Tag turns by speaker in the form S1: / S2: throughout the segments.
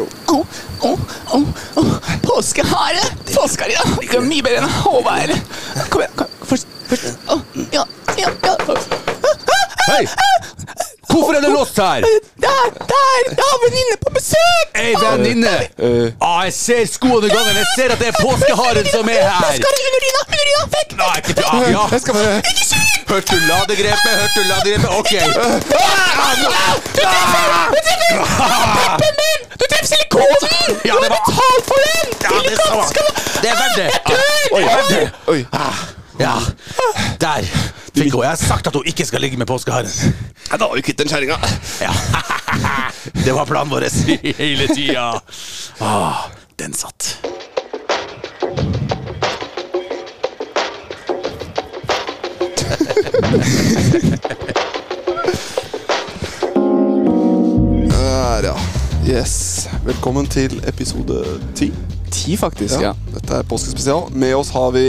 S1: Å, å, å, å. Påskehare! Påskehare, ja! Det er mye bedre enn hårvære. Kom igjen. kom igjen. Først. først. Å, ja, ja, ja.
S2: Hei! Hvorfor er det låst her?
S1: Der, der! Jeg har venninne på besøk!
S2: Ei venninne!
S3: Eh.
S2: Ah, jeg ser skoene i gangen. Jeg ser at det er påskeharen som er her.
S1: Påskehare under dyna! Under dyna! Vekk!
S2: Nei, ikke til ah, ja.
S3: Jeg skal bare
S1: Ikke skyt!
S2: Hørte du ladegrepet? Hørte du ladegrepet? Ok.
S1: Au! Du treffer! Du treffer! Au, Peppen min! Du treffer silikonen! Du
S2: Ja,
S1: har
S2: det var-
S1: betalt for den!
S2: Ja, det er
S1: Silikon skal
S2: Det er verdt det.
S1: Au,
S2: Oi,
S1: Jeg dør!
S2: verdt det.
S3: Oi.
S2: Ja. Der fikk hun. Jeg har sagt at hun ikke skal ligge med påskeharen.
S3: Ja, Da har vi kvitt den kjerringa.
S2: Ja. Det var planen vår hele tida. Ah, den satt.
S3: Der, ja. Yes. Velkommen til episode ti.
S1: Ti, faktisk.
S3: Ja. Dette er påskespesial. Med oss har vi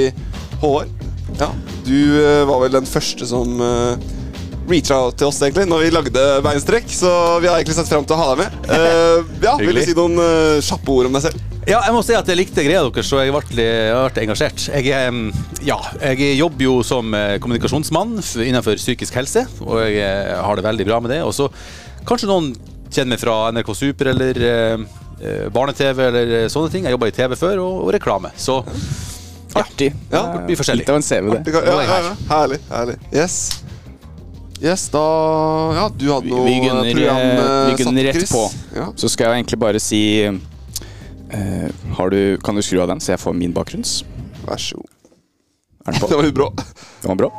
S3: Håvard. Ja. Du eh, var vel den første som uh, reacha til oss egentlig når vi lagde Beinstrekk, så vi har egentlig sett fram til å ha deg med. Eh, ja, Vil du
S2: Hyggelig.
S3: si noen eh, kjappe ord om deg selv?
S2: Ja, jeg må si at jeg likte greia deres, så jeg ble, jeg ble engasjert. Jeg, eh, ja, jeg jobber jo som eh, kommunikasjonsmann f- innenfor psykisk helse, og jeg eh, har det veldig bra med det. Og så kanskje noen kjenner meg fra NRK Super eller eh, eh, barne-TV eller eh, sånne ting. Jeg jobba i TV før, og, og reklame. Så
S1: Artig.
S3: Ja,
S2: det blir forskjellig.
S1: Litt av en CV,
S3: Du
S1: det.
S3: kan-
S2: Nå er jeg her.
S3: Herlig. herlig. Yes. Yes, da Ja, du hadde noe
S1: Vi gunner,
S3: eh, program eh,
S1: eh, vi gunner
S3: satt,
S1: rett
S3: Chris.
S1: på.
S3: Ja.
S1: Så skal jeg egentlig bare si eh, har du, Kan du skru av den, så jeg får min bakgrunns?
S3: Vær så god.
S1: Er den på?
S3: Det var litt bra.
S1: Den var bra.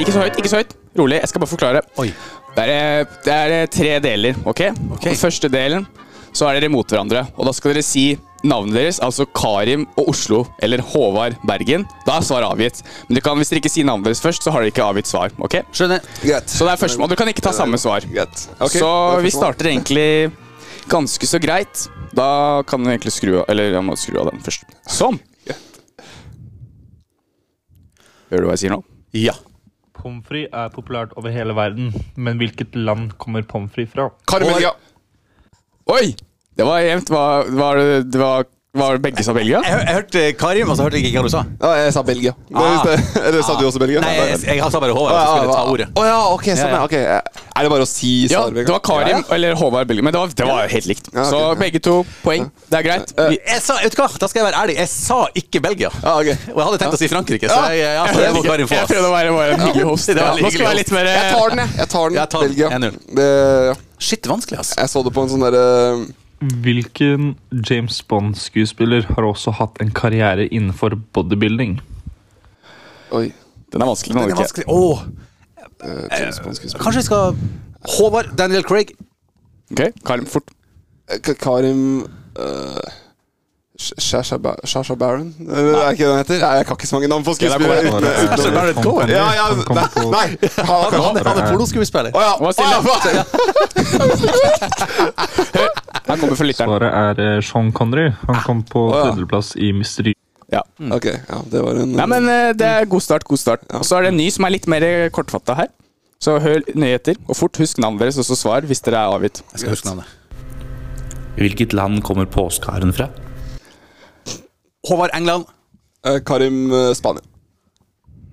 S1: Ikke så høyt, ikke så høyt. Rolig, jeg skal bare forklare.
S2: Oi.
S1: Det er, eh, det er eh, tre deler, ok? Den første delen, så er dere mot hverandre. Og da skal dere si navnet deres, altså Karim og Oslo, eller Håvard Bergen. Da er svaret avgitt. Men dere kan, hvis dere ikke sier navnet deres først, så har dere ikke avgitt svar, ok?
S2: Skjønner.
S3: Greit.
S1: Så det er førstemann. Du kan ikke ta samme svar.
S3: Greit. Ok,
S1: så
S3: da er
S1: vi
S3: førstemann.
S1: starter egentlig ganske så greit. Da kan vi egentlig skru av Eller jeg må skru av den først. Sånn. Hører du hva jeg sier nå?
S2: Ja.
S4: Pommes frites er populært over hele verden, men hvilket land kommer pommes frites fra?
S3: Karmelia.
S1: Oi! Det var jevnt. Var, var, det- det var, var det begge som Belgia?
S2: Jeg, hø- jeg hørte Karim, og så hørte jeg ikke hva du sa.
S3: Ja, jeg sa Belgia. Det
S2: Ah.
S3: visste jeg. Eller sa du også Belgia?
S2: Nei, jeg, jeg, jeg sa bare Håvard, så
S3: Å, ja,
S2: skulle jeg ta
S3: hva-
S2: ordet.
S3: Å ja, ok, sånn,
S2: Ja, ja.
S3: ja. ok. Er det bare å si
S1: Ja,
S3: svaret?
S1: det var Karim
S2: Ja, ja.
S1: eller Håvard Belgia. Men det var, det var helt likt.
S3: Ja, ok,
S1: Så
S3: ja.
S1: begge to poeng. Det er greit. Vi,
S2: Jeg sa, vet du hva, Da skal jeg være ærlig. Jeg sa ikke Belgia.
S3: Ja, ok.
S2: Og jeg hadde tenkt å si Frankrike, så jeg, jeg, Ah. jeg, må Karim få
S1: jeg prøvde å være bare en hyggelig host.
S2: Det var
S1: Ja,
S2: litt
S1: nå skal jeg være litt mer
S3: Jeg tar den, jeg. jeg tar den,
S2: Jeg tar den.
S3: Belgia.
S2: 1-0.
S3: Det, ja.
S2: Shit, vanskelig, altså.
S3: jeg så det på en sånn derre
S4: Hvilken James Bond-skuespiller har også hatt en karriere innenfor bodybuilding?
S3: Oi.
S1: Den er vanskelig.
S2: Den
S1: Den
S2: er
S1: er vanskelig.
S2: vanskelig. Åh,
S3: James Bond skuespiller.
S2: kanskje vi skal Håvard, Daniel Craig
S1: Ok, Karim, fort.
S3: K- Karim eh, Sh- Shasha Ba- Shasha Baron? Eller, Er ikke det den heter? Nei, jeg kan ikke så mange navn på skuespillere.
S1: det kommer
S3: uten-
S2: Sasha Baron Cohen.
S3: Ja, ja,
S4: Han kom
S3: nei,
S4: på-
S3: nei. Han
S2: Han, han, han er
S3: Å
S2: pornoskuespiller.
S3: ja.
S1: Hva sier
S3: å, ja.
S1: Han kommer fra lytteren.
S4: Svaret er eh, Sean Connery. Han kom på
S3: Å, ja.
S4: tredjeplass i Mystery.
S1: Ja.
S3: Ok, ja, det var en
S1: Nei, men eh, det er god start, god start. Og så er det en ny som er litt mer kortfatta her. Så hør nyheter, og fort husk navnet deres, og så svar hvis dere er avgitt.
S2: Jeg skal huske navnet.
S5: Hvilket land kommer påskeharen fra?
S2: Håvard England.
S3: Eh, Karim eh, Spania.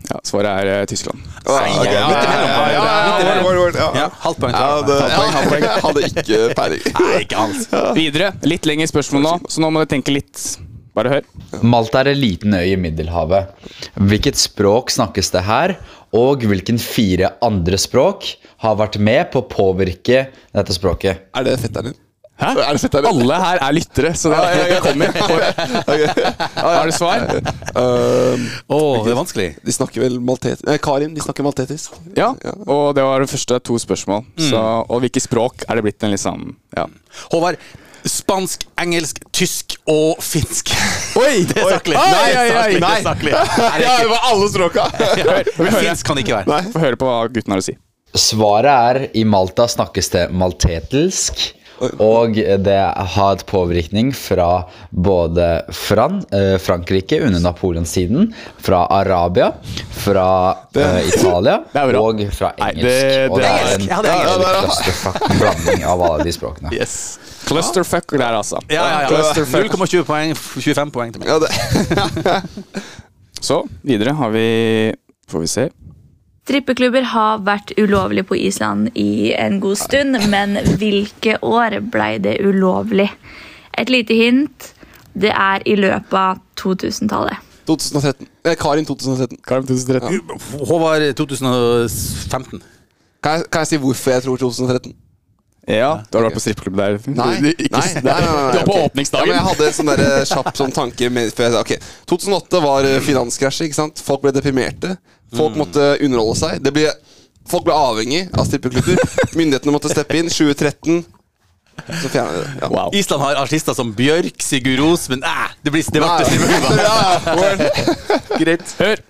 S1: Ja, svaret er eh, Tyskland.
S3: Ja, ok.
S2: ja, midt imellom.
S3: Ja, ja, ja,
S2: Midt imellom.
S3: word, word, word, ja.
S2: Ja, halvt poeng.
S3: Ja, det, jeg hadde ikke peiling.
S2: Nei, ikke hans.
S1: Videre. Litt lengre spørsmål nå, så nå må dere tenke litt. Bare hør.
S6: Malta er en liten øy i Middelhavet. Hvilket språk snakkes det her, og hvilken fire andre språk har vært med på å påvirke dette språket?
S3: Er det fetteren din?
S1: Hæ?
S3: Er det fetteren din?
S1: Alle her er lyttere, så det
S3: Ja, ja, ja.
S1: det kommer. Har du svar?
S2: Åh, det er vanskelig.
S3: De snakker vel maltetisk Nei, Karim, de snakker maltetisk.
S1: Ja, og det var det første to spørsmål. Så, og hvilket språk er det blitt en litt sånn ja.
S2: Håvard spansk, engelsk, tysk og finsk.
S1: Oi!
S2: Det er saklig.
S1: Oi,
S2: Nei,
S1: oi, oi,
S2: saklig, det
S1: nei.
S2: er saklig. Nei, det er ikke-
S3: var alle språka!
S1: Hør, hør,
S2: Finsk kan det ikke være.
S1: hør. Få høre på hva gutten har å si.
S6: Svaret er i Malta snakkes det maltetelsk, og det har et påvirkning fra både Fran, eh, Frankrike under Napoleonstiden, fra Arabia, fra eh, Italia
S1: Det er bra.
S6: og fra
S1: Nei,
S6: engelsk.
S1: det-
S6: og
S1: det
S6: det
S1: er-
S6: er en
S2: Ja, det er engelsk.
S6: en clusterfuck blanding av alle de språkene.
S2: Yes.
S1: Clusterfucker der, altså.
S2: Ja, ja, ja.
S1: Clusterfuck.
S2: 0,20 poeng, f- 25 poeng til meg.
S3: Ja, det.
S1: Så videre har vi Får vi se.
S7: Strippeklubber har vært ulovlig på Island i en god stund, men hvilke år ble det ulovlig? Et lite hint. Det er i løpet av 2000-tallet.
S3: 2013. Eh, Karin 2013.
S1: Karim 2013.
S2: Håvard 2015.
S3: Kan jeg, kan jeg si hvorfor jeg tror 2013?
S1: Ja, Du har vært på strippeklubb der?
S3: Nei,
S1: Du-
S3: nei,
S1: ikke-
S3: nei, nei, nei,
S1: Du var på
S3: ok.
S1: åpningsdagen.
S3: Ja, men jeg hadde en sånn der eh, kjapp sånn tanke med, før jeg sa, ok, 2008 var eh, finanskrasjet, ikke sant? Folk ble deprimerte.
S1: Mm.
S3: Folk måtte underholde seg. Det ble, folk ble avhengig av strippeklubber. Myndighetene måtte steppe inn. 2013, så fjernet vi det. Ja.
S1: Wow.
S2: Island har artister som Bjørk, Sigurd Ros, men æ, det blir det
S3: Nei,
S2: ble
S3: ja, ja, word.
S1: Greit. Hør!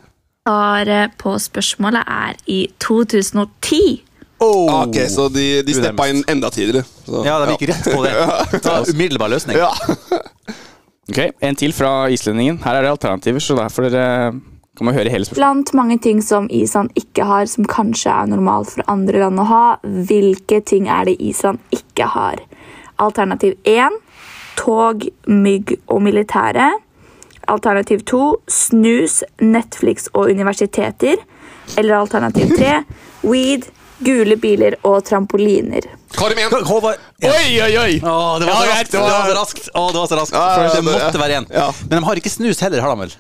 S7: Svaret på spørsmålet er i 2010.
S2: oh.
S3: Ok, så de, de steppa inn enda tidligere. Så,
S2: Ja, de gikk rett på det. Ta umiddelbar løsning.
S3: Ja.
S1: Ok, En til fra islendingen. Her er det alternativer, så derfor dere kan man høre hele spørsmålet.
S7: Blant mange ting som Island ikke har, som kanskje er normalt for andre land å ha, hvilke ting er det Island ikke har? Alternativ 1 tog, mygg og militære. Alternativ 2 snus, Netflix og universiteter. Eller alternativ 3 weed, gule biler og trampoliner.
S3: Karim 1.
S2: Håvard
S1: Oi, oi, oi!
S2: Å, det var så
S1: Ja,
S2: raskt!
S1: greit,
S2: Det var så raskt. Å, det var så raskt.
S3: ja,
S2: For det
S3: det-
S2: måtte være én.
S3: ja.
S2: Men de har ikke snus heller, har de vel?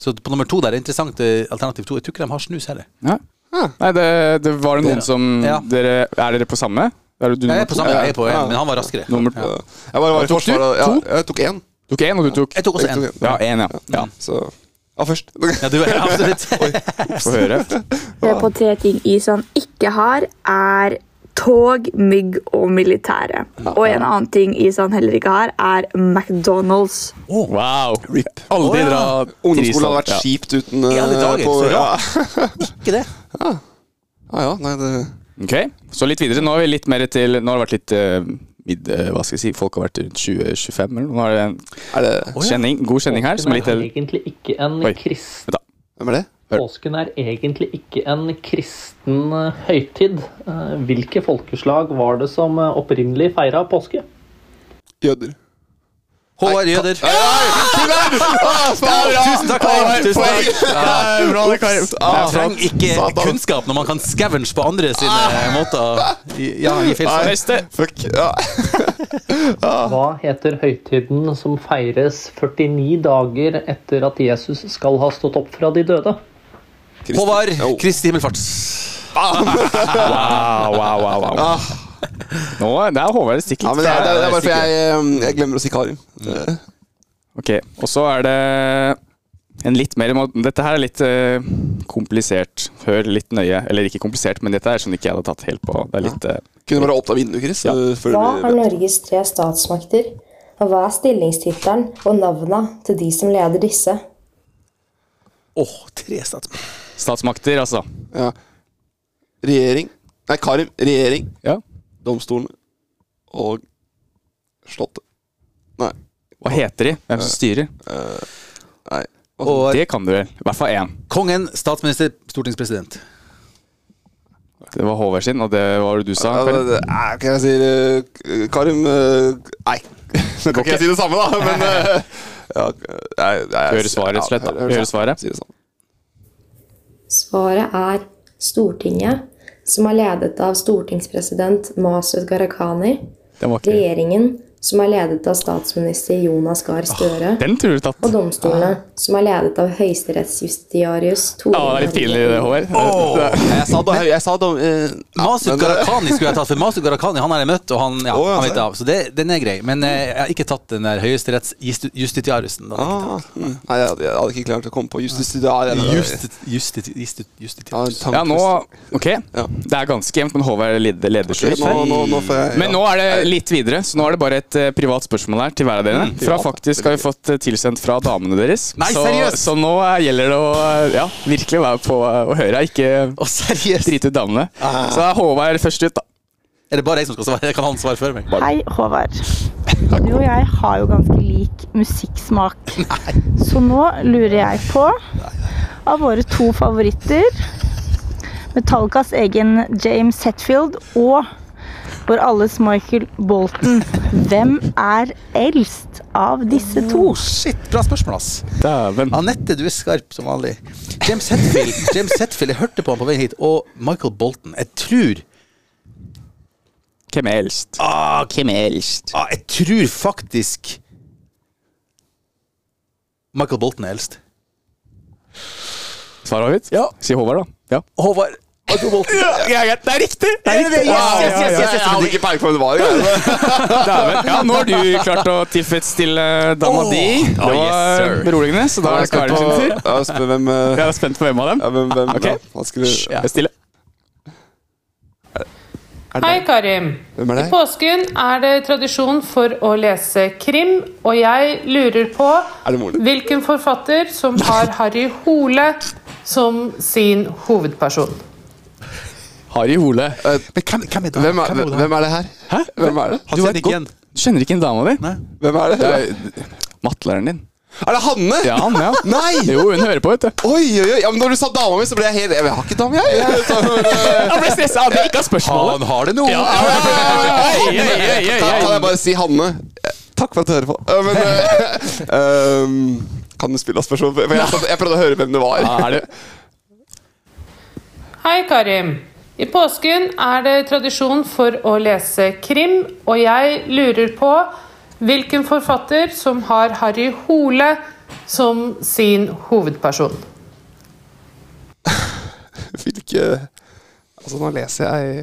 S2: Så på nummer to der er interessant eh, alternativ to. Jeg tror ikke de har snus heller.
S1: Ja. Nei, det, det var det noen
S2: Dere-
S1: som
S2: ja.
S1: dere, Er dere på samme? Er det du
S2: Jeg
S1: nummer
S2: er på
S1: to?
S2: samme,
S1: Ja.
S2: jeg er på én, men han var raskere.
S1: Nummer to.
S3: Jeg bare var
S1: Tok
S3: i
S1: du? To?
S3: forsvaret. Ja, jeg tok én.
S1: Du tok én, og du tok
S2: Jeg tok også
S3: Jeg
S2: én.
S3: tok en.
S1: Ja, én, ja. ja.
S3: Så Ja, først.
S2: Ja, du er absolutt.
S1: Få høre.
S7: Svaret på tre ting Island ikke har, er tog, mygg og militære. Og en annen ting Island heller ikke har, er McDonald's.
S1: Wow.
S3: RIP.
S1: Aldri
S2: Å, ja.
S1: dra
S3: Ungdomsskolen hadde vært
S1: Ja.
S3: kjipt uten
S2: I alle
S3: eh,
S2: dager,
S3: på-
S2: så
S3: ja.
S2: Ikke det.
S3: ja, ja, nei, det
S1: Ok, så litt videre. Nå har vi litt mer til Nå har det vært litt eh, mid, eh, Hva skal jeg si, folk har vært rundt 20-25 eller noe. Nå er det en
S3: Er det
S1: kjenning, god kjenning her som er litt
S8: er egentlig ikke en
S1: Oi.
S8: kristen,
S3: Hvem er det?
S8: Påsken er egentlig ikke en kristen eh, høytid. Eh, Hvilke folkeslag var det som eh, opprinnelig feira påske?
S3: Jøder.
S2: Håvard Jøder. Tusen takk,
S3: Karim.
S2: Karim. Tusen takk.
S3: Ah,
S2: Man trenger ikke kunnskap når man kan scavenge på andre sine måter. I- Ja, i feil sammenheng.
S1: Neste!
S3: Fuck. Ja. Ah.
S8: Hva heter høytiden som feires 49 dager etter at Jesus skal ha stått opp fra de døde?
S2: Håvard
S3: Oh.
S2: Kristi himmelfart.
S1: Wow, wow, wow, wow.
S3: Ah.
S1: Nå, det er Håvard det stikker Mm.
S3: Ja,
S1: litt.
S3: men det, er, det er bare fordi jeg, eh, jeg glemmer å si Karim. Eh,
S1: Ok, og så er det en litt mer må- Dette her er litt eh, komplisert. Hør litt nøye. Eller ikke komplisert, men dette er sånn ikke jeg hadde tatt helt på. Det er litt eh,
S3: Kunne bare åpna vinduet, Chris.
S1: Ja.
S3: eh, Før
S9: Hva
S3: du
S9: er Norges tre statsmakter? Og hva er stillingstittelen og navna til de som leder disse?
S2: Åh, tre statsmenn.
S1: statsmakter, altså.
S3: ja. Regjering Nei, Karim. Regjering,
S1: Ja.
S3: domstolene og Slottet. Nei.
S1: Hva heter de? Hvem som styrer?
S3: Nei.
S2: Og
S1: Det kan du vel. I hvert fall én.
S2: kongen, statsminister, stortingspresident.
S1: Det var Håvard sin, og det var det du sa.
S3: Ja,
S1: Karin.
S3: men, eh, kan jeg si eh, Karim eh, Nei. Nå kan ikke jeg si det samme, da, men eh, ja, jeg, jeg,
S1: Du hører svaret, rett og slett, da. Du hører svaret.
S3: Si det sånn.
S9: Svaret er Stortinget, som er ledet av stortingspresident Masud Gharahkhani.
S1: Den, var ikke...
S9: Regjeringen, som er ledet av statsminister Jonas Gahr Støre.
S1: den tror du tatt.
S9: Og domstolene, som er ledet av høyesterettsjustitiarius Tore
S1: Ja, det er litt pinlig, det, Håvard.
S3: Jeg sa da Jeg sa da eh,
S2: Masud Gharahkhani skulle jeg tatt, for Masud Gharahkhani han har jeg møtt, og han, eh, ja,
S3: Å, ja,
S2: han vet
S3: se.
S2: det av. Så det, den er grei. Men eh, jeg har ikke tatt den der høyesterettsjustitiarusen.
S3: ah, Nei, jeg, hadde- jeg hadde ikke klart å komme på justis ja, det- det- Ja, en
S2: Justitiarus.
S3: tanke-
S1: Ja, nå Ok, det er ganske jevnt, men Håvard leder, leder
S3: Ok,
S1: selv.
S3: nå, nå, nå får jeg
S1: Men nå er det litt videre, så nå er det bare et eh, privat spørsmål her til hver av dere. Fra faktisk har vi fått eh, tilsendt fra damene deres.
S2: Nei,
S1: så,
S2: seriøst?
S1: så nå eh, gjelder det å eh, ja, virkelig være på eh, å høre. Ikke
S2: Å, seriøst?
S1: drite ut damene. Så da er Håvard først ut, da.
S2: Er det bare jeg som skal svare? Kan han svare før meg?
S10: Hei, Håvard. Du og jeg har jo ganske lik musikksmak. Så nå lurer jeg på av våre to favoritter Metallicas egen James Hetfield og hvor alles Michael Bolton. Hvem er eldst av disse to?
S2: Shit, bra spørsmål, ass. Anette, du er skarp som vanlig. James Hetfield, James Hetfield, jeg hørte på han på veien hit, og Michael Bolton. Jeg tror
S1: Hvem er eldst?
S2: Ah,
S1: hvem er eldst?
S2: Ah, jeg tror faktisk Michael Bolton er eldst.
S1: Svar avgitt?
S2: Ja.
S1: Si Håvard, da. Ja.
S2: Håvard Michael Bolton.
S1: Ja, ja, det er riktig!
S2: Det er riktig.
S3: Wow.
S2: Yes, yes, yes, yes, yes.
S3: Jeg hadde ikke peiling på hvem det var. jeg.
S1: Dæven. Ja, nå har du klart å tilfredsstille eh, dama
S2: Åh.
S1: di. Det
S2: Ah, yes,
S1: var
S2: sir.
S1: beroligende, så da
S3: Ja,
S1: er
S3: jeg
S1: det Karin
S3: skal
S1: sin
S3: på-
S1: tur.
S3: Ja, spør hvem eh,
S1: Jeg er spent på hvem av dem.
S3: ja, hvem, hvem
S1: Ok.
S3: ja. Hva skulle
S1: Jeg er eh, stille.
S11: Hei, Karim.
S3: Hvem er
S11: I
S3: det?
S11: påsken er det tradisjon for å lese krim, og jeg lurer på
S3: Er det moren din?
S11: hvilken forfatter som har Harry Hole som sin hovedperson.
S1: Harry Hole.
S2: Men hvem, hvem er det?
S3: Hvem er,
S2: Hvem er det?
S3: hvem er det her?
S1: Hæ?
S3: Hvem er det?
S2: Han
S1: Du,
S2: kjenner
S1: har et
S2: ikke
S1: godt, du kjenner ikke igjen dama di?
S2: Nei.
S3: Hvem er det?
S1: Det er mattelæreren din.
S3: Er det Hanne?
S1: Ja, han, ja.
S3: Nei!
S1: Jo, hun hører på, vet du.
S3: Oi, oi, oi. Ja, men når du sa dama mi, så ble jeg helt Jeg har ikke dame, jeg. Så, eh,
S1: Jeg ble stressa av at jeg ikke har spørsmålet.
S2: Han har det nå!
S1: Hei, hei, hei, hei,
S3: Kan kan
S1: hei.
S3: jeg bare si Hanne? Eh, Takk for at du hører på. Eh, Men eh, ehm, Kan du spille av spørsmål? For jeg, jeg prøvde å høre hvem det var.
S1: Ja, er det
S11: Hei, Karim. I påsken er det tradisjon for å lese krim, og jeg lurer på hvilken forfatter som har Harry Hole som sin hovedperson.
S3: Hvilke Altså, nå leser jeg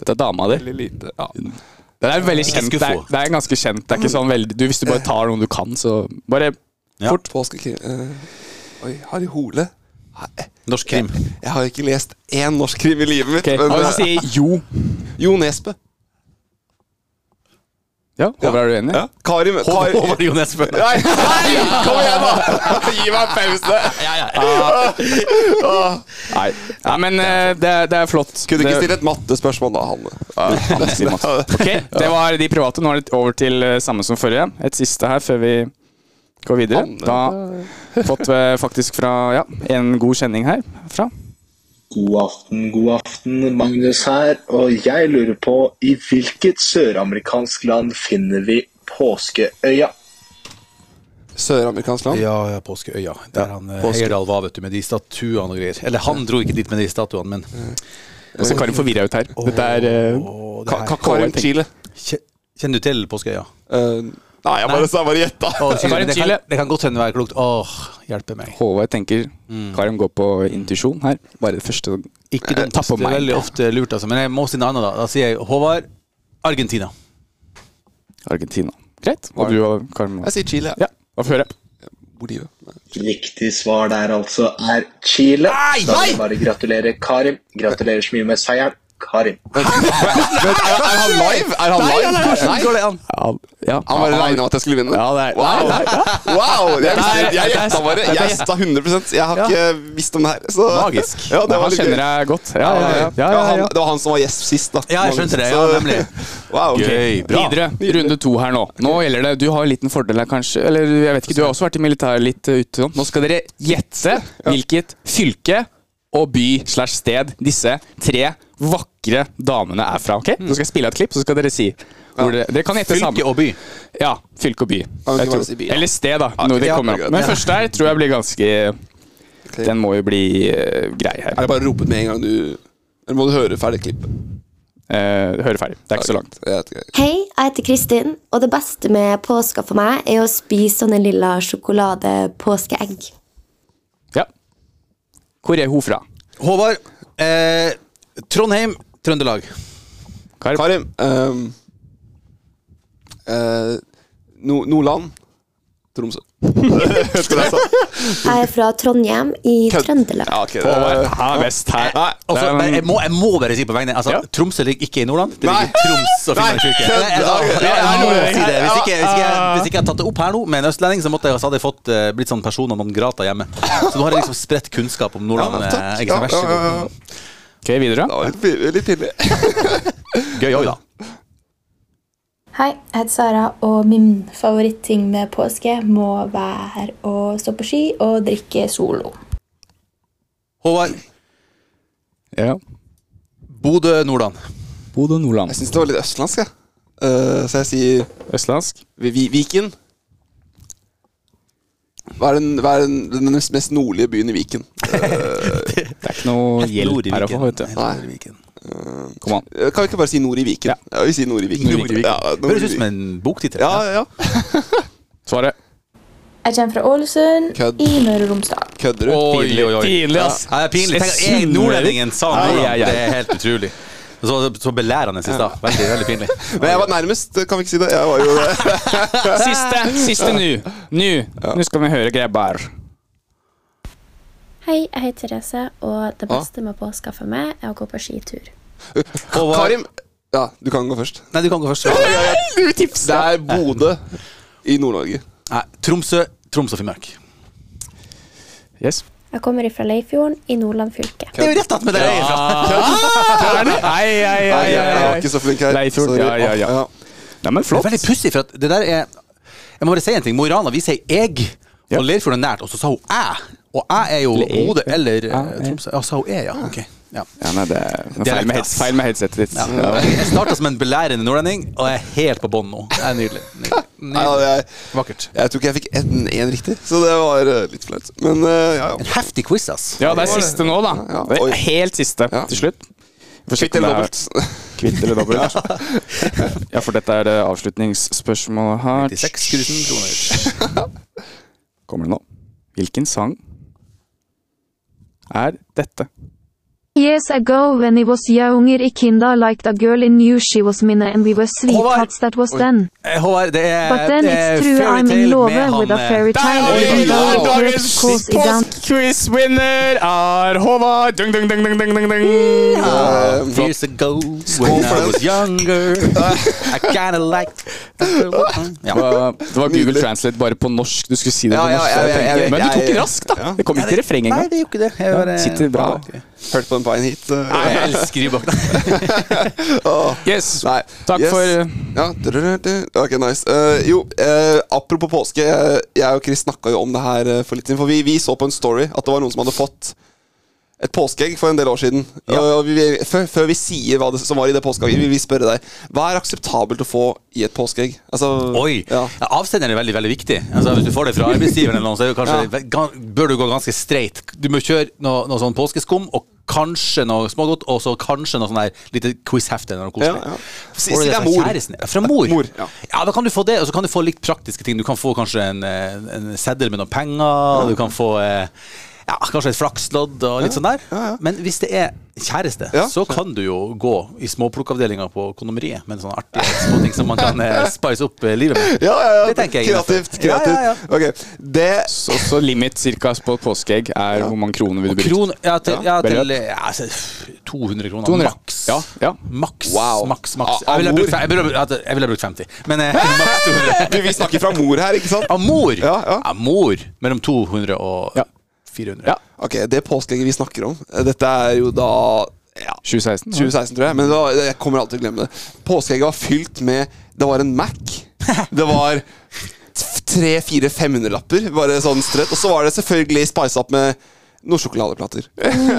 S1: Dette er dama di.
S3: veldig lite. Ja.
S1: Det er veldig
S2: Ikke
S1: kjent. Det er,
S2: skuffet.
S1: det er ganske kjent. Det er ikke sånn veldig du, Hvis du bare tar noen du kan, så bare
S2: Ja.
S1: fort.
S3: Påskekrim eh, Oi, Harry Hole. Nei,
S2: Norsk krim.
S3: Jeg har ikke lest én norsk krim i livet mitt.
S1: Ok,
S3: men,
S1: Han
S3: eh,
S1: sier jo.
S3: Jo Nesbø.
S1: Ja, Håvard, er du enig?
S3: Ja. Karim, Karim.
S2: Håvard Jo Nesbø.
S3: Nei, nei, kom igjen, da! Gi meg en pause. Ah.
S1: Nei. Nei, men eh, det, er- det er flott.
S3: Kunne du ikke
S1: Det-
S3: stille et mattespørsmål da, Hanne?
S1: Han sier Mats. Ok, Det var de private. Nå er det over til eh, samme som forrige. Et siste her før vi går videre. Da fått vi faktisk fra ja, en god kjenning her. Fra.
S12: God aften, god aften. Magnus her. Og jeg lurer på i hvilket søramerikansk land finner vi påskeøya?
S3: Søramerikansk land.
S2: Ja, ja, Påskeøya. Der han eh,
S3: Påske-
S2: Heyerdahl var, vet du, med de statuene og greier. Eller han dro ikke dit med de statuene, men
S1: Og så Karin forvirra ut her. Dette er eh,
S2: Åh, det
S3: Ka
S2: her.
S3: Ka Karim Chile.
S2: Kje- Kjenner du til Påskeøya?
S3: Eh, nei, jeg bare, jeg bare gjetta.
S2: Åh, Chile,
S1: Karim
S2: men det,
S1: Chile.
S2: kan, det kan godt hende være klokt. Åh, hjelpe meg.
S1: Håvard tenker
S3: Mm.
S1: Karim går på intuisjon her. Bare det første
S2: Ikke dumt.
S1: Tapp på
S2: Det er
S1: meg.
S2: veldig ofte lurt, altså. Men jeg må si noe annet, da. Da sier jeg Håvard Argentina.
S1: Argentina. Greit. Og du og Karim?
S3: Jeg sier Chile.
S1: Ja, da får vi høre.
S3: Bolivia.
S12: Riktig svar der altså er Chile. Da vil jeg bare gratulere Karim. Gratulerer så mye med seieren, Karim.
S3: Men er, er han live? Er han live?
S2: Hvordan går det an?
S1: Ja, ja.
S3: Han bare regna med at jeg skulle vinne.
S1: Ja, det er-
S3: wow!
S1: Nei,
S3: wow. Jeg, visste-
S1: Dette
S3: jeg
S1: er-
S3: gjetta bare.
S1: dette er-
S3: Jeg gjetta 100 Jeg har ikke eh, visst om det her. Så.
S2: Magisk.
S3: Ja, det
S1: Nei,
S3: var
S1: han
S3: litt
S1: kjenner
S3: gøy.
S1: deg godt. Ja, ja, ja. ja,
S3: Ja,
S1: ja,
S3: han,
S1: ja.
S3: det var han som var gjest sist. Da.
S2: Ja, jeg skjønte det. Ja,
S3: Så-
S2: nemlig.
S3: Wow.
S2: Gøy. Bra.
S1: Videre, runde to her nå. Nå gjelder det, Du har en liten fordel her, kanskje. Eller jeg vet ikke, Du har også vært i militæret litt eh, ute. sånn. Nå skal dere gjette hvilket fylke og by slash sted disse tre vakre damene er fra.
S3: Mm.
S1: ok? Nå skal jeg spille et klipp, så skal dere si. Hvor dere, dere kan gjette
S2: Fylke
S1: sammen.
S2: og by.
S1: Ja, fylke og by.
S3: men
S1: Jeg
S3: du kan
S1: tror-
S3: si by, da.
S1: Eller sted, da. Noe de
S3: ja,
S1: kommer
S3: ja.
S1: opp. Men første her tror jeg blir ganske Den må jo bli eh, grei her.
S3: Er det bare å rope ut med en gang du Eller må du høre ferdig klippet?
S1: Eh, Høre ferdig. Det er ikke så langt.
S3: Jeg vet ikke.
S13: Hei, jeg heter Kristin, og det beste med påska for meg er å spise sånne lilla sjokolade-påskeegg.
S1: Ja. Hvor er hun fra?
S2: Håvard eh, Trondheim, Trøndelag.
S1: Kar?
S3: Karim ehm, eh, no Nordland. Tromsø. Husker du det jeg sa?
S13: Jeg er fra Trondheim i
S3: Kødd.
S13: Trøndelag.
S3: Ja, ok, det-
S1: Håvard her, eh, vest her.
S2: Nei, altså,
S1: Det er-
S2: men jeg, må, jeg må bare si på vegne altså,
S1: Ja.
S2: Tromsø ligger ikke i Nordland. Det
S3: Nei.
S2: ligger Troms og Finnmark fylke.
S3: kødd.
S2: Nei, altså,
S3: Ja,
S2: ja,
S3: Ah.
S2: Jeg må
S1: ja,
S2: si det. Hvis
S1: ja,
S2: ikke, hvis, ikke, jeg- hvis ikke jeg hadde tatt det opp her nå med en østlending, så måtte jeg, så hadde jeg fått, eh, blitt sånn person og noen grata hjemme. Så nå har jeg liksom spredt kunnskap om Nordland.
S3: Ja, takk.
S2: eh, ikke så
S3: Ja,
S2: verst.
S3: ja, ja, ja.
S1: Ok, videre.
S3: Det var litt pin- litt pinlig.
S2: Gøy òg, da.
S14: Hei, jeg heter Sara, og min favorittting med påske må være å stå på ski og drikke Solo.
S2: Håvard
S1: Ja.
S2: Bodø, Nordland.
S1: Bodø, Nordland.
S3: Jeg syns det var litt østlandsk, jeg. Eh, så jeg sier
S1: Østlandsk?
S3: Viken. Hva er den, hva er den, den mest, mest nordlige byen i Viken? Eh, det
S1: er ikke noe hjelp her å få, vet du. Kom an.
S3: Eh, Kan vi ikke bare si Nord i Viken? Ja, vi sier Nord i Viken.
S2: Nord i Viken.
S3: Ja, Nord i
S2: Høres ut som
S3: Viken.
S2: en boktittel.
S3: Ja, ja, ja.
S1: Svaret.
S14: Jeg kommer fra Ålesund
S3: Kødd.
S14: i Møre og Romsdal.
S3: Kødder du?
S2: Oi,
S1: Pinlig,
S2: oi, oi.
S1: pinlig, ass.
S2: Ja, det er pinlig. Tenk at jeg nordlendingen sa
S3: Ja,
S2: noe.
S3: ja, ja.
S2: Det er helt utrolig. Så, så belærende i stad. Veldig, veldig pinlig.
S3: Men jeg var nærmest, kan vi ikke si det? Jeg var jo det.
S1: Siste! Siste nå. Nå Nå skal vi høre grabbar.
S15: Hei, jeg heter Therese, og det
S3: Ja.
S15: beste med påska for meg er å gå på skitur.
S3: Karim Ja, du kan gå først.
S2: Nei, du kan gå først.
S3: Det er Bodø i Nord-Norge.
S2: Nei, Tromsø, Troms og Finnmark.
S1: Yes.
S15: Jeg kommer ifra Leifjorden i Nordland fylke.
S2: Det er jo rett attmed der jeg er
S1: fra! Nei, nei, nei.
S3: Jeg var ikke så flink her.
S1: Leifjord.
S3: Sorry.
S1: Ja, ja, ja. Nei, men
S2: Det er veldig pussig, for at det der er Jeg må bare si en ting. Mo i Rana, vi sier jeg, og Leirfjord er nært, og så sa hun æ. Og æ er jo
S1: Eller jeg.
S2: Bodø eller eh, Tromsø. Ja, sa hun æ, ja. Ok. Ja.
S1: Ja, nei, det er feil med,
S2: Dialekt,
S1: heads, feil med headsetet ditt.
S2: Ja. Jeg starta som en belærende nordlending, og jeg er helt på bånn nå. Det er nydelig. nydelig.
S3: Nei, ja, det er-
S2: Vakkert.
S3: Jeg tror ikke jeg fikk en, en riktig, så det var eh, litt flaut. Men eh, ja, ja.
S2: En heftig quiz, ass.
S1: Ja, det er siste nå, da.
S3: Ja,
S1: Det
S3: oi.
S1: er helt siste til slutt. Vi får
S3: Kvitt
S1: sjekke om
S3: eller
S1: det er- Kvitt eller dobbelt. Ja, for dette er det avslutningsspørsmålet her.
S2: 96 000 kroner.
S1: Kommer det nå. Hvilken sang er dette?
S16: Years ago, when I was younger, I kinda liked a girl and knew she was mine, and we were sweethearts. That was then.
S2: Eh, Håvard, det er
S16: But then
S2: det er
S16: it's true I'm
S2: Fairytale
S16: in love
S2: med han,
S16: with a
S2: eh,
S16: fairy
S1: Der
S16: tale.
S1: har vi
S16: even though it
S1: dagens
S16: works 'cause it don't
S1: postquiz-vinner er Håvard dung, dung, dung, dung, dung, dung, dung.
S2: Ah, Years ago when I was younger I kinda liked
S1: Det var- Det var Google Translate bare på norsk. Du skulle si det på
S2: Ja, ja,
S1: norsk.
S2: ja,
S1: jeg
S2: ja, ja,
S1: tenkte, Men du
S2: ja,
S1: tok
S2: ja.
S1: det raskt, da.
S2: Ja.
S1: Det kom ikke i refrenget
S2: Nei,
S1: engang.
S2: det gjorde ikke det. Jeg bare,
S1: Sitter bra.
S2: Ah, ok.
S3: Hørte på en pine hit. eh.
S2: Nei, jeg elsker Rybak.
S1: Yes.
S3: Nei.
S1: Takk
S3: yes.
S1: for
S2: eh,
S3: ja. drrrrrr. Ok, nice. Eh, jo, eh, apropos påske. eh, Jeg og Chris snakka jo om det her eh, for litt siden. For vi, vi så på en story at det var noen som hadde fått et påskeegg for en del år siden. Og- Og vi, vi- før, før vi sier hva det, som var i det påskeegget, vil vi spørre deg Hva er akseptabelt å få i et påskeegg? Altså,
S2: Oi! Ja, avsenderen er veldig veldig viktig. Altså, hvis du får det fra arbeidsgiveren, eller noe, så er det kanskje, ga- bør du gå ganske streit. Du må kjøre noe, noe sånn påskeskum og kanskje noe smågodt, og så kanskje noe sånn der lite quizhefte. eller noe koselig.
S3: Ja, ja. Si-
S2: Får du
S3: si det er
S2: fra
S3: mor.
S2: kjæresten? Ja, Fra mor.
S3: ja.
S2: Ja, da kan du få det, og så kan du få litt praktiske ting. Du kan få kanskje en, eh, en seddel med noen penger, du kan få eh, ja, kanskje et flakslodd og litt sånn der. Men hvis det er kjæreste, så kan du jo gå i småplukkavdelinga på kondomeriet med sånn sånne artige småting som man kan eh, spice opp eh, livet med.
S3: Ja, ja, ja.
S2: Det tenker jeg innenfor.
S3: kreativt. kreativt.
S2: Ja, ja, ja.
S3: Ok, det
S1: Så, så limit cirka på et påskeegg er hvor mange kroner vil du bruke?
S2: Kron, ja, til, ja,
S1: Beløp.
S2: til ja, altså, 200 kroner.
S1: 200, ja.
S2: Maks.
S1: Ja, ja.
S2: Maks,
S1: Wow.
S2: maks, maks.
S1: Av
S2: Jeg ville ha
S1: mor.
S2: brukt, fe- jeg ville ha brukt- at- jeg ville ha brukt 50, men eh, maks 200.
S3: Du, vi snakker fra mor her, ikke sant?
S2: Av mor! Av mor. Mellom 200 og 400.
S3: Ok, det påskeegget vi snakker om eh, Dette er jo da ja,
S1: 2016, ja.
S3: 2016, tror jeg Men det var, jeg kommer alltid til å glemme det Påskeegget var fylt med Det var en Mac Det var 3-4-500 lapper Bare sånn strøtt Og så var det selvfølgelig spice opp med noen sjokoladeplater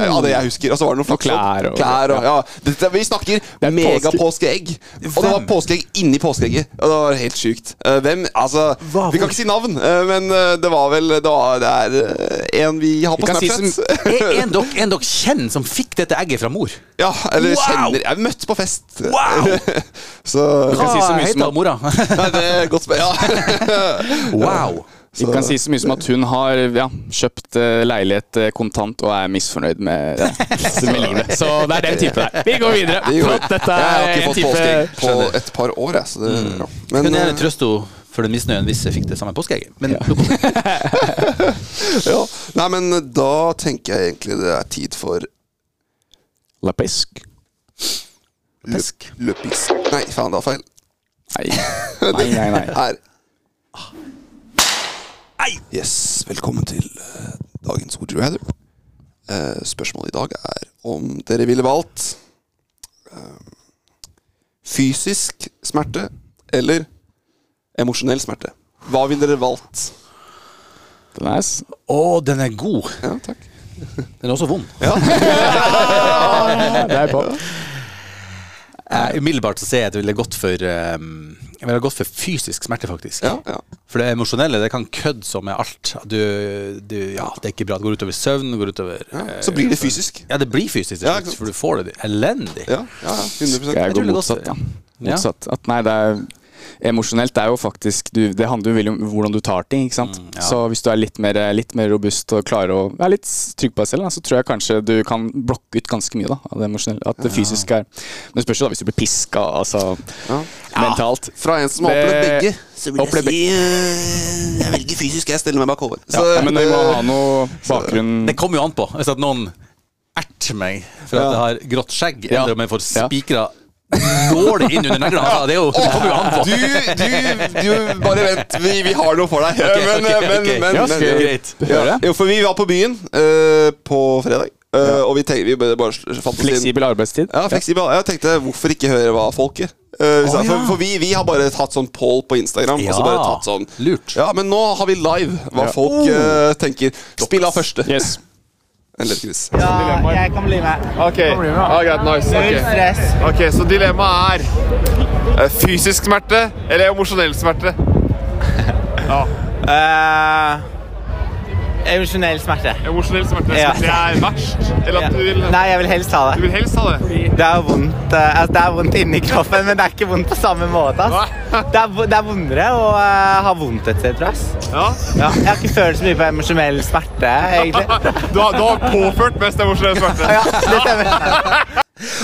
S3: Av det jeg husker Og så var det noen flakslodd
S1: klær og-
S3: klær og ja. Dette, Vi snakker megapåskeegg Og det var påskeegg inni påskeegget Og det var helt sykt Eh, Hvem, altså Vi kan ikke si navn eh, Men eh, det var vel Det, var, det er eh, en vi har på Snapchat
S2: Er en dere en dere kjenner som fikk dette egget fra mor?
S3: Ja, eller
S2: Wow!
S3: kjenner Jeg møtte på fest.
S2: Wow!
S3: så
S2: Du kan si så mye som at- mora?
S3: Nei, det er godt spørsmål. Ja.
S2: Wow.
S1: Vi kan si så mye som at hun har ja, kjøpt eh, leilighet eh, kontant og er misfornøyd med, ja, med livet. Så det er den type der. Vi går videre.
S3: Vi går.
S1: Flott, dette
S3: jeg har
S1: er
S3: ikke
S1: en
S3: fått
S1: type
S3: påskeegg på et par år, jeg. Så det, ja.
S2: Men,
S3: Men,
S2: Mm. Kunne
S3: eh,
S2: gjerne trøste henne for den misnøyen hvis jeg fikk det samme påskeegget. Men
S3: ja. Nei, men da tenker jeg egentlig det er tid for
S1: Lepisk.
S3: Lepisk? Nei, faen, det var feil.
S1: Nei. Nei, nei, nei.
S3: Her. Yes, velkommen til eh, dagens Would you rather. Eh, spørsmålet i dag er om dere ville valgt eh, fysisk smerte eller emosjonell smerte. Hva ville dere valgt?
S1: Den er s-
S2: Å, den er god.
S3: Ja, takk.
S2: Den er også vond.
S3: Ja.
S1: Det er på.
S2: Eh, umiddelbart så ser jeg at jeg ville gått for eh, Jeg ville gått for fysisk smerte, faktisk. For det emosjonelle det kan kødde som med alt. Du, du, ja, det er ikke bra. Det går utover søvn. det Går utover, eh,
S3: så blir det fysisk.
S2: Ja, det blir fysisk, til slutt, for du får det elendig.
S3: ja, 100%.
S1: Skal jeg gå
S2: tror det
S1: motsatt,
S2: også-
S1: da?
S2: Ja.
S1: Motsatt. At nei, det er Emosjonelt det er jo faktisk du, Det handler jo veldig om hvordan du tar ting. ikke sant? Så hvis du er litt mer, litt mer robust og klarer å være litt trygg på deg selv, da, så tror jeg kanskje du kan blokke ut ganske mye da, av det emosjonelle. At det
S3: Ja.
S1: fysiske er Men det spørs jo da hvis du blir piska altså, mentalt.
S3: Ah, Fra en som har
S1: Det-
S3: opplevd begge, så vil
S1: opplevd
S3: jeg si eh, Jeg velger fysisk. Jeg stiller meg bak Håvard.
S2: Ja,
S3: Så,
S2: men vi må
S3: eh,
S2: ha
S1: noe bakgrunn
S2: Det kommer jo an på. Hvis at noen erter meg for at jeg har grått skjegg, eller om jeg får spikra dårlig inn under neglene altså, Det, er jo- det kommer jo an på.
S3: Du, du, du bare vent. Vi, vi har noe for deg.
S2: Ok, ok,
S3: men, men,
S2: ok.
S3: men,
S2: Ja,
S3: men,
S2: skal- greit.
S3: Ja. Jo, for vi var på byen eh, på fredag. eh, Og vi, tenkte, vi bare bare fant oss inn.
S1: Fleksibel arbeidstid.
S3: Ja, fleksibel. Jeg tenkte, hvorfor ikke høre hva folk gjør? Eh, hvis jeg- For, for vi, vi har bare tatt sånn poll på Instagram. Og så bare
S2: Ja.
S3: tatt sånn Ja, Men nå har vi live hva
S2: Ja.
S3: folk
S2: Oh.
S3: eh, tenker. Spill av første. Eller Chris.
S17: Ja, jeg kan bli med. Ok, ja, greit, nice.
S18: Null
S17: Ok.
S18: stress.
S17: ok, så dilemmaet er eh, fysisk smerte eller emosjonell smerte? Ja.
S18: Emosjonell smerte.
S17: Emosjonell smerte.
S18: Ja.
S17: Det er verst. Eller at du vil
S18: Nei, jeg vil helst ha det.
S17: Du vil helst ha det?
S18: Det er vondt, eh, altså, det er vondt inni kroppen, men det er ikke vondt på samme måte. Ass. Det, er, vo- det er vondere å eh, ha vondt et sted, tror jeg. ass. Ja, jeg har ikke følt så mye på emosjonell smerte, egentlig.
S17: Du har, du har påført mest emosjonell smerte. Ja,
S18: det stemmer.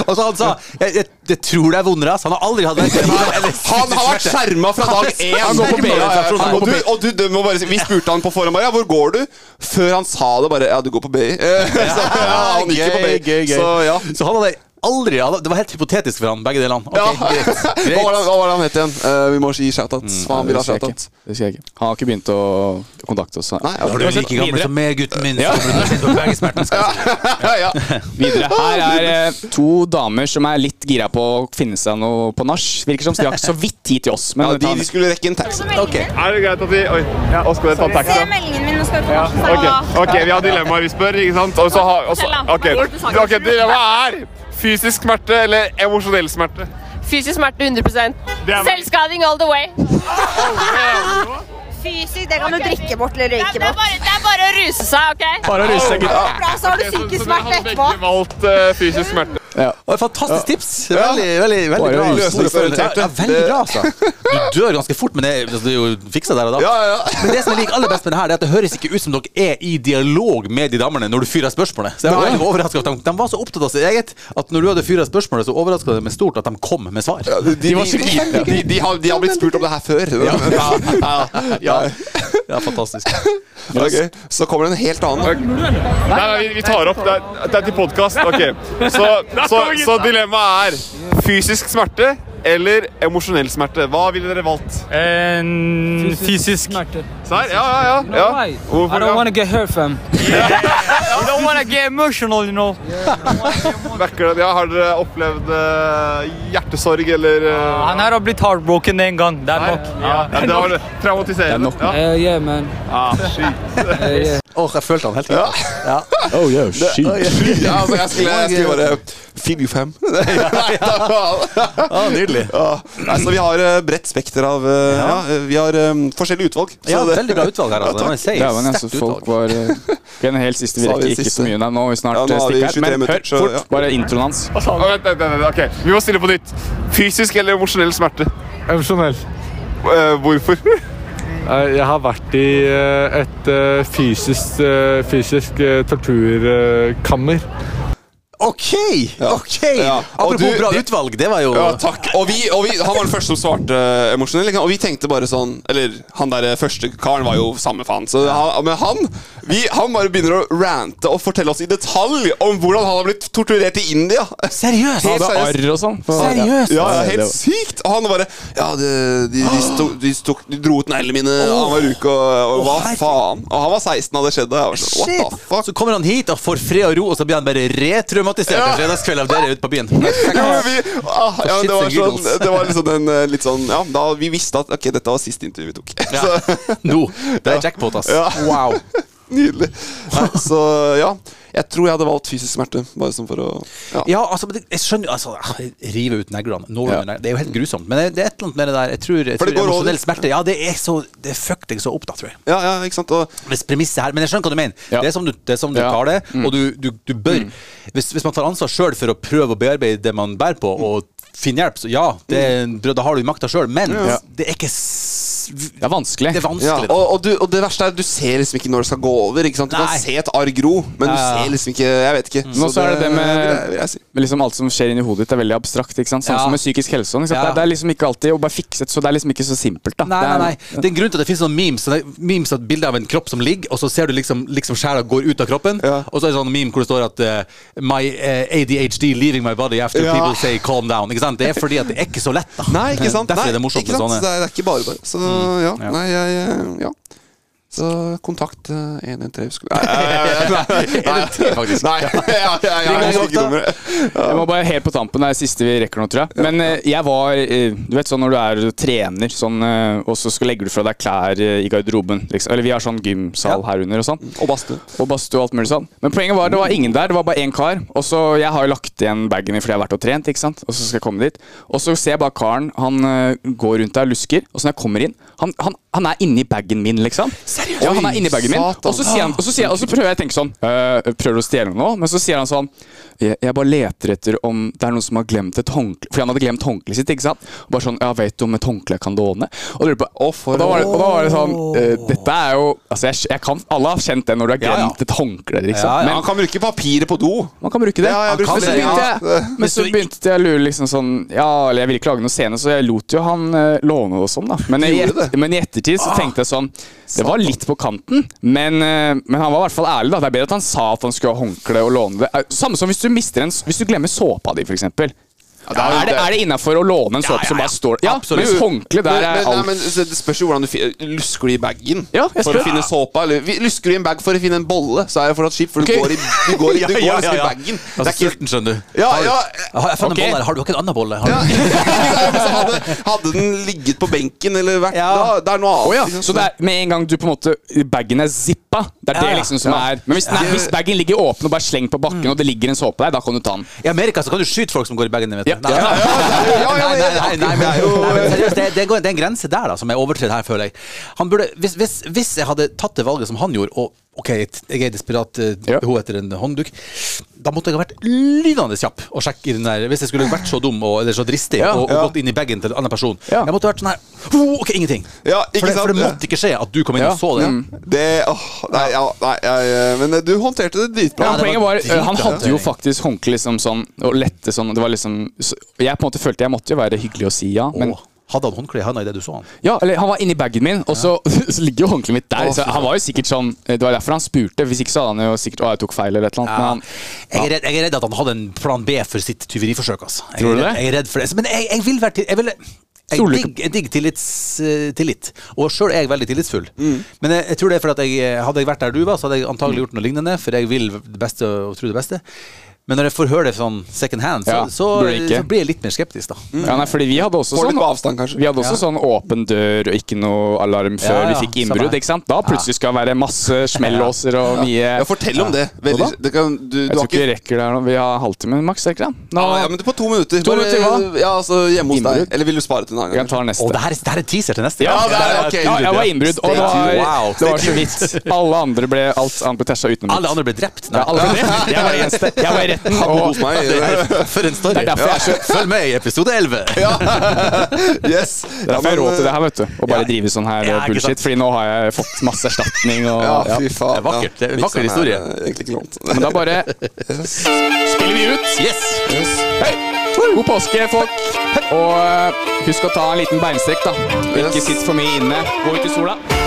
S2: Og så Altså, han sa jeg, jeg, jeg tror det er vondere, ass. Han har aldri hatt verken
S3: Han har vært skjerma fra dag én!
S2: Han går på
S3: Ja, ja, ja.
S2: BI.
S3: Og du, og du, du må bare si Vi spurte han på forhånd bare, ja, hvor går du? Før han sa det bare Ja, du går på BI. Eh, Så, ja, han gikk jo på BI. Så ja.
S2: Så han hadde aldri han, Det var helt hypotetisk for han, begge delene. Ok,
S3: Ja.
S2: greit.
S3: Hva var det hva var det han het igjen? Eh, vi må si shout-out. Faen, Ah, vi
S1: det
S3: la
S1: husker jeg
S3: shout-out.
S1: ikke. Det husker jeg ikke. Han har ikke begynt å kontakte oss.
S3: Nei,
S2: Da er du like gammel som meg, gutten min.
S1: Ja.
S2: så burde du sitte på begge smertene, skal jeg si.
S1: Videre. Her er eh, to damer som er litt gira på å finne seg noe på nach. Virker som de har så vidt tid til oss. Men
S3: Ja, de, de skulle rekke en taxi.
S17: Er det greit at vi Oi, og skal dere ta taxi? da?
S19: meldingen min, nå skal vi
S17: Ja, ok, ok, vi har dilemmaer vi spør, ikke sant? Og så har, og så, ok, ok, dilemmaet er fysisk smerte eller emosjonell smerte.
S19: Fysisk smerte 100
S17: er-
S19: Selvskading all the way. Fysisk, det kan du drikke bort eller røyke bort. Det er bare å ruse seg, OK?
S17: Bare å ruse seg, gutt.
S19: Bra, så har du psykisk smerte etterpå.
S17: Vi valgte eh, fysisk smerte.
S2: Og et fantastisk tips. Det er
S17: Ja.
S2: Veldig, veldig, veldig
S17: Bare
S2: bra.
S17: løsningsorientert,
S2: Ja, ja, veldig
S17: det-
S2: bra, altså. Du dør ganske fort, men det er, altså, det er jo fiksa der og da. Men det som jeg liker aller best med det her, det er at det høres ikke ut som dere er i dialog med de damene når du fyrer spørsmålet. Så jeg var
S3: Nei.
S2: veldig overrasket over at de, de var så opptatt av sitt eget at når du hadde fyret spørsmålet, så overraska det meg stort at de kom med svar.
S3: De, de, de, de, de, har, de har blitt spurt om det her før.
S2: Ja.
S3: Ja, ja.
S2: Ja, fantastisk.
S3: Ok, Så kommer det en helt annen.
S17: Nei, nei, vi, vi tar opp. Det er, det er til podkast. Så, så, så dilemmaet er fysisk smerte eller emosjonell smerte. Hva ville dere valgt?
S20: fysisk.
S17: Serr? Ja, ja, ja. ja. Hvorfor-
S20: I don't
S17: ja.
S20: want to get hurt, fam. I don't want to get emotional, you know.
S17: Vekker det, ja, har dere opplevd eh, hjertesorg eller eh,
S20: Ah, Han her har blitt heartbroken en gang. Det er nok.
S17: ja, det var det. traumatiserende. Ja.
S20: Eh, yeah, man.
S17: Ah, shit.
S20: Eh, yeah.
S2: Åh, jeg følte han helt likt. Ja.
S1: Oh, yeah,
S3: shit. Ja, altså, jeg skulle, jeg skulle bare Finn you fam. Nei, da-
S17: Ah,
S2: nydelig.
S3: Ja. Ah, Nei, så vi har eh, bredt spekter av eh, ja. eh, Vi har eh, forskjellige utvalg. Så
S2: Ja,
S3: det-
S2: veldig bra utvalg her, altså. Det må jeg si.
S1: Ja, men altså,
S2: Sterkt
S1: folk var eh, ok, Den helt siste Vi
S3: Så har vi
S1: rekker ikke
S3: siste.
S1: så mye. Nei, nå må vi
S3: Ja,
S1: snart
S3: nå
S1: eh,
S3: har vi
S1: stikke her.
S3: 23
S1: Men
S3: minutter,
S1: hør
S3: så,
S1: fort,
S3: ja.
S1: bare introen hans.
S17: Å, faen. Å, vent, vent, vent, vent, ok. Vi må stille på nytt. Fysisk eller emosjonell smerte?
S21: Emosjonell.
S17: hvorfor?
S21: Jeg har vært i eh, et eh, fysisk, eh, fysisk eh, torturkammer.
S2: OK! ok
S3: Ja. Og
S2: Apropos
S3: du-
S2: bra
S3: det-
S2: utvalg, det var jo
S3: Ja, takk. Og, vi, og vi, han var den første som svarte eh, emosjonell. ikke sant? Og vi tenkte bare sånn Eller han der eh, første karen var jo samme faen. Så han, men han vi, Han bare begynner å rante og fortelle oss i detalj om hvordan han har blitt torturert i India.
S2: Seriøst?
S1: Han hadde arr og sånn.
S3: Seriøst? Ja, ja,
S1: Det
S3: helt
S1: var-
S3: sykt! Og han bare Ja, de, de, de, sto, de, tok, de dro ut neglene mine, og han var uke, og, og hva faen? Og han var 16 da det skjedde. Jeg var sånn, What the
S2: Shit. Så kommer han hit og får fred og ro, og så blir han bare retraumatisert en fredagskveld av dere ute på byen.
S3: f- ah,
S2: shits
S3: ja, det, var
S2: and
S3: sånn,
S2: giggles.
S3: det var liksom den eh, litt sånn Ja, da vi visste at Ok, dette var siste intervju vi tok.
S2: Ja. Nå. Det er jackpot, ass.
S3: Ja.
S2: Wow.
S3: Nydelig. Nei, så ja. Jeg tror jeg hadde valgt fysisk smerte. Bare sånn for å Ja,
S2: Ja, altså, men det- jeg skjønner jo altså, ah, Rive ut neglene. Nå runder jeg. Det er jo helt grusomt. Men det- det er et eller annet med det der. Jeg tror, jeg
S3: For det
S2: tror
S3: går over.
S2: emosjonell smerte Ja, det er så Det fucker deg så opp, da, tror jeg.
S3: Ja, ja, ikke sant? Og,
S2: Hvis premisset her Men jeg skjønner hva du mener. Det er som du, det er som du
S3: Ja.
S2: tar det,
S3: Mm.
S2: og du, du, du bør hvis, hvis man tar ansvar sjøl for å prøve å bearbeide det man bærer på, og finne hjelp, så ja, det, da da har du makta sjøl, men
S3: Mm. Ja.
S2: det er ikke s- Det
S1: er vanskelig.
S2: Det er vanskelig.
S3: Ja, og, og, du, og det verste er at du ser liksom ikke når det skal gå over. Ikke sant? Du
S2: Nei.
S3: kan se et arr gro, men du
S1: Ja, ja.
S3: ser liksom ikke Jeg vet ikke.
S1: Men også er det det
S3: vil
S1: med,
S3: jeg-
S1: med liksom alt som skjer inni hodet ditt, er veldig abstrakt. ikke sant? Sånn
S2: Ja.
S1: som med psykisk helse. og sånn, Ikke sant? Det,
S2: Ja.
S1: er- det er liksom ikke alltid å bare fikse det, så det er liksom ikke så simpelt. da.
S2: Nei,
S1: Det er-
S2: nei, nei. Det er en grunn til at det finnes sånne memes. Sånne memes at Bilde av en kropp som ligger, og så ser du liksom, liksom sjela går ut av kroppen. Og så er det sånn meme hvor det står at eh, My eh, ADHD leaving my body after
S3: Ja.
S2: people say calm down. Ikke sant? Det er fordi at det er ikke så lett, da.
S3: Nei, ikke sant?
S2: Derfor
S3: Nei,
S2: er det morsomt med
S3: ikke sant?
S2: sånne.
S3: Det, er, det er ikke bare bare. Så ja, nei, jeg eh, Ja. Så kontakt eh, 113 skulle Nei, nei, nei, nei, nei,
S1: faktisk.
S3: Nei, ja, ja, ja, jeg
S1: Ring
S3: husker ikke
S1: meg
S3: nummeret.
S1: Jeg må bare helt på tampen, det er siste vi rekker nå, tror jeg. Men eh, jeg var eh, Du vet sånn når du er og trener, sånn, eh, og så skal legger du fra deg klær eh, i garderoben. Liksom. Eller vi har sånn gymsal herunder og sånn.
S3: Og badstue.
S1: Og badstue og alt mulig sånn. Men poenget var det var ingen der, det var bare én kar. Og så Jeg har jo lagt igjen bagen min fordi jeg har vært og trent, ikke sant. Og så skal jeg komme dit. Og så ser jeg bare karen, han eh, går rundt der og lusker, og så når jeg kommer inn Han, han, han er inni bagen min, liksom. Seriøst? Ja, han er inni bagen min.
S3: Satan.
S1: Og så, sier han, og, så sier, og så prøver jeg å tenke sånn eh, Prøver å stjele noe, men så sier han sånn jeg, jeg bare leter etter om det er noen som har glemt et håndkle Fordi han hadde glemt håndkleet sitt, ikke sant? Og bare sånn Ja, vet du om et håndkle jeg kan låne? Og, lurer på, og, da, var det, og da var det sånn eh, Dette er jo Altså, jeg, jeg kan Alle har kjent det når du har glemt et håndkle, liksom.
S3: Ja, ja.
S1: Men
S3: Man kan bruke papiret på do.
S1: Man kan bruke det.
S3: Ja, jeg
S1: Men
S3: brukte
S1: så
S3: det,
S1: begynte
S3: ja.
S1: jeg, men så begynte jeg å lure liksom sånn Ja, eller jeg ville ikke lage noe scene, så jeg lot jo han eh, låne og sånn, da. Men,
S3: Du
S1: i,
S3: gjorde
S1: et- men i ettertid så tenkte jeg sånn Det var litt på kanten, men, eh, men han var i hvert fall ærlig, da. Det er bedre at han sa at han skulle ha håndkle og låne det. Eh, Samme som hvis du mister en s- Hvis du glemmer såpa di, f.eks. Ja,
S3: er jo
S1: er det,
S3: det.
S1: er det innafor å låne en såpe som bare står Ja, mens håndkle der
S3: Men-
S1: er
S3: men- nei,
S1: alt
S3: men så Det spørs jo hvordan du fi- Lusker du i bagen
S1: jeg
S3: for å
S1: spør.
S3: finne såpa? Eller vi- lusker du i en bag for å finne en bolle, så er jeg fortsatt kjipt, for du
S2: Ok.
S3: går, i, du går, i- du går liksom i bagen. Det er
S2: Altså,
S3: ikke-
S2: sulten, skjønner du.
S3: Ja,
S2: Har du-
S3: ja.
S2: Har jeg funnet
S3: Ok.
S2: en bolle her? Har du ikke en annen bolle? Har du?
S3: Hadde den ligget på benken eller vært da, Det er noe annet.
S1: Å ja,
S3: liksom.
S1: Så det er med en gang du på en måte bagen er zippa, det er
S2: Ja,
S1: det
S2: ja.
S1: liksom som
S2: Ja.
S1: er Men hvis, nei,
S2: Ja.
S1: hvis bagen ligger åpen og bare slengt på bakken, og det ligger en såpe der, da kan du ta den.
S2: I Amerika så kan du skyte folk som går i bagen din, vet du.
S1: Ja. Ja,
S2: Nei, nei, nei, nei, men- nei, men seriøst, det, det, går, det er en grense der da, som er overtredt her, føler jeg. Han burde, hvis, hvis, hvis jeg hadde tatt det valget som han gjorde, og ok, jeg er desperat eh, behov etter en håndduk, da måtte jeg ha vært lynende kjapp og sjekke i den der, hvis jeg skulle vært så dum og, eller så dristig
S3: Ja,
S2: og, og
S3: ja.
S2: gått inn i bagen til en annen person. Jeg måtte ha vært sånn her, oh, ok, ingenting.
S3: Ja, ikke
S2: for, det,
S3: sant?
S2: for det måtte ikke skje at du kom inn
S3: Ja.
S2: og så det.
S3: Mm. Det, åh, nei, ja, nei jeg, Men eh, du håndterte det dritbra.
S1: Ja, men poenget var, øh, Han hadde jo
S3: Ja.
S1: faktisk håndkle liksom sånn, og lette sånn. og Det var liksom, så jeg på en måte følte jeg måtte jo være hyggelig og si ja. Men,
S2: Hadde han håndkle i handa idet du så han?
S1: ja, eller Han var inni bagen min, og så, så ligger jo håndkleet mitt der. Så han var jo sikkert sånn, Det var derfor han spurte. Hvis ikke så hadde han jo sikkert å, jeg tok feil. eller et eller annet, men han,
S2: Jeg er, redd, jeg er redd at han hadde en plan B for sitt tyveriforsøk. Altså. Jeg,
S1: Tror du
S2: er redd-
S1: det?
S2: Jeg er redd for det. Men jeg, jeg vil være til, jeg vil, jeg
S1: Stoler ikke
S2: digg, jeg digg tillits, eh, tillit, og sjøl er jeg veldig tillitsfull.
S1: Mm.
S2: Men jeg, jeg tror det er fordi at jeg, eh, hadde jeg vært der du var, så hadde jeg antagelig gjort noe lignende. For jeg vil det beste og tror det beste. Men når jeg får høre det sånn second hand, så,
S1: Ja,
S2: så,
S1: burde jeg ikke. Mm.
S2: så blir jeg litt mer skeptisk, da.
S1: Ja, nei, fordi vi hadde også
S2: Får litt
S1: sånn
S2: på avstand, kanskje.
S1: Vi hadde også
S2: Ja.
S1: sånn åpen dør og ikke noe alarm før
S2: Ja, ja,
S1: vi fikk
S2: samme
S1: innbrudd.
S2: her.
S1: ikke sant? Da plutselig skal det være masse smellåser og
S3: Ja.
S1: mye
S3: Ja, fortell om det. Veldig-
S1: Hva da?
S3: det kan, du,
S1: Jeg
S3: du
S1: tror
S3: har
S1: ikke vi
S3: ikke
S1: rekker det her nå. Vi har halvtime maks, er det ikke det? Nå,
S3: ja, ja, men det er på to minutter.
S1: To minutter, hva?
S3: Ja, altså hjemme hos
S1: Innbrudd.
S3: deg. Eller vil du spare til en annen
S1: Jeg
S3: gang?
S1: tar neste.
S2: Og det her, det her er teaser til neste
S1: Ja,
S2: gang.
S1: det er,
S2: Ja,
S1: ja, jeg var innbrudd, og det var,
S2: Wow.
S1: det var så vidt. Alle andre ble, alt annet ble tæsja utenom
S2: Alle andre ble drept.
S1: Ja, alle ble drept. Jeg var i eneste. Jeg var i retten. og-
S2: For en story.
S1: Det er derfor jeg er så
S2: Følg med i episode 11.
S3: Yes. eh,
S1: Det er derfor jeg har råd til det her, vet du. Å bare drive sånn her
S2: Ja, ikke
S1: bullshit. Fordi nå har jeg fått masse erstatning og
S3: Ja, fy faen.
S2: Det er vakkert. Det er en
S3: Liksom,
S2: vakker historie.
S3: eh, Egentlig ikke lånt.
S1: Men da bare spiller vi ut.
S2: Yes.
S1: Hei. God påske, folk. Og eh, husk å ta en liten beinstrekk, da. Ikke sitt for mye inne. Gå ut i sola.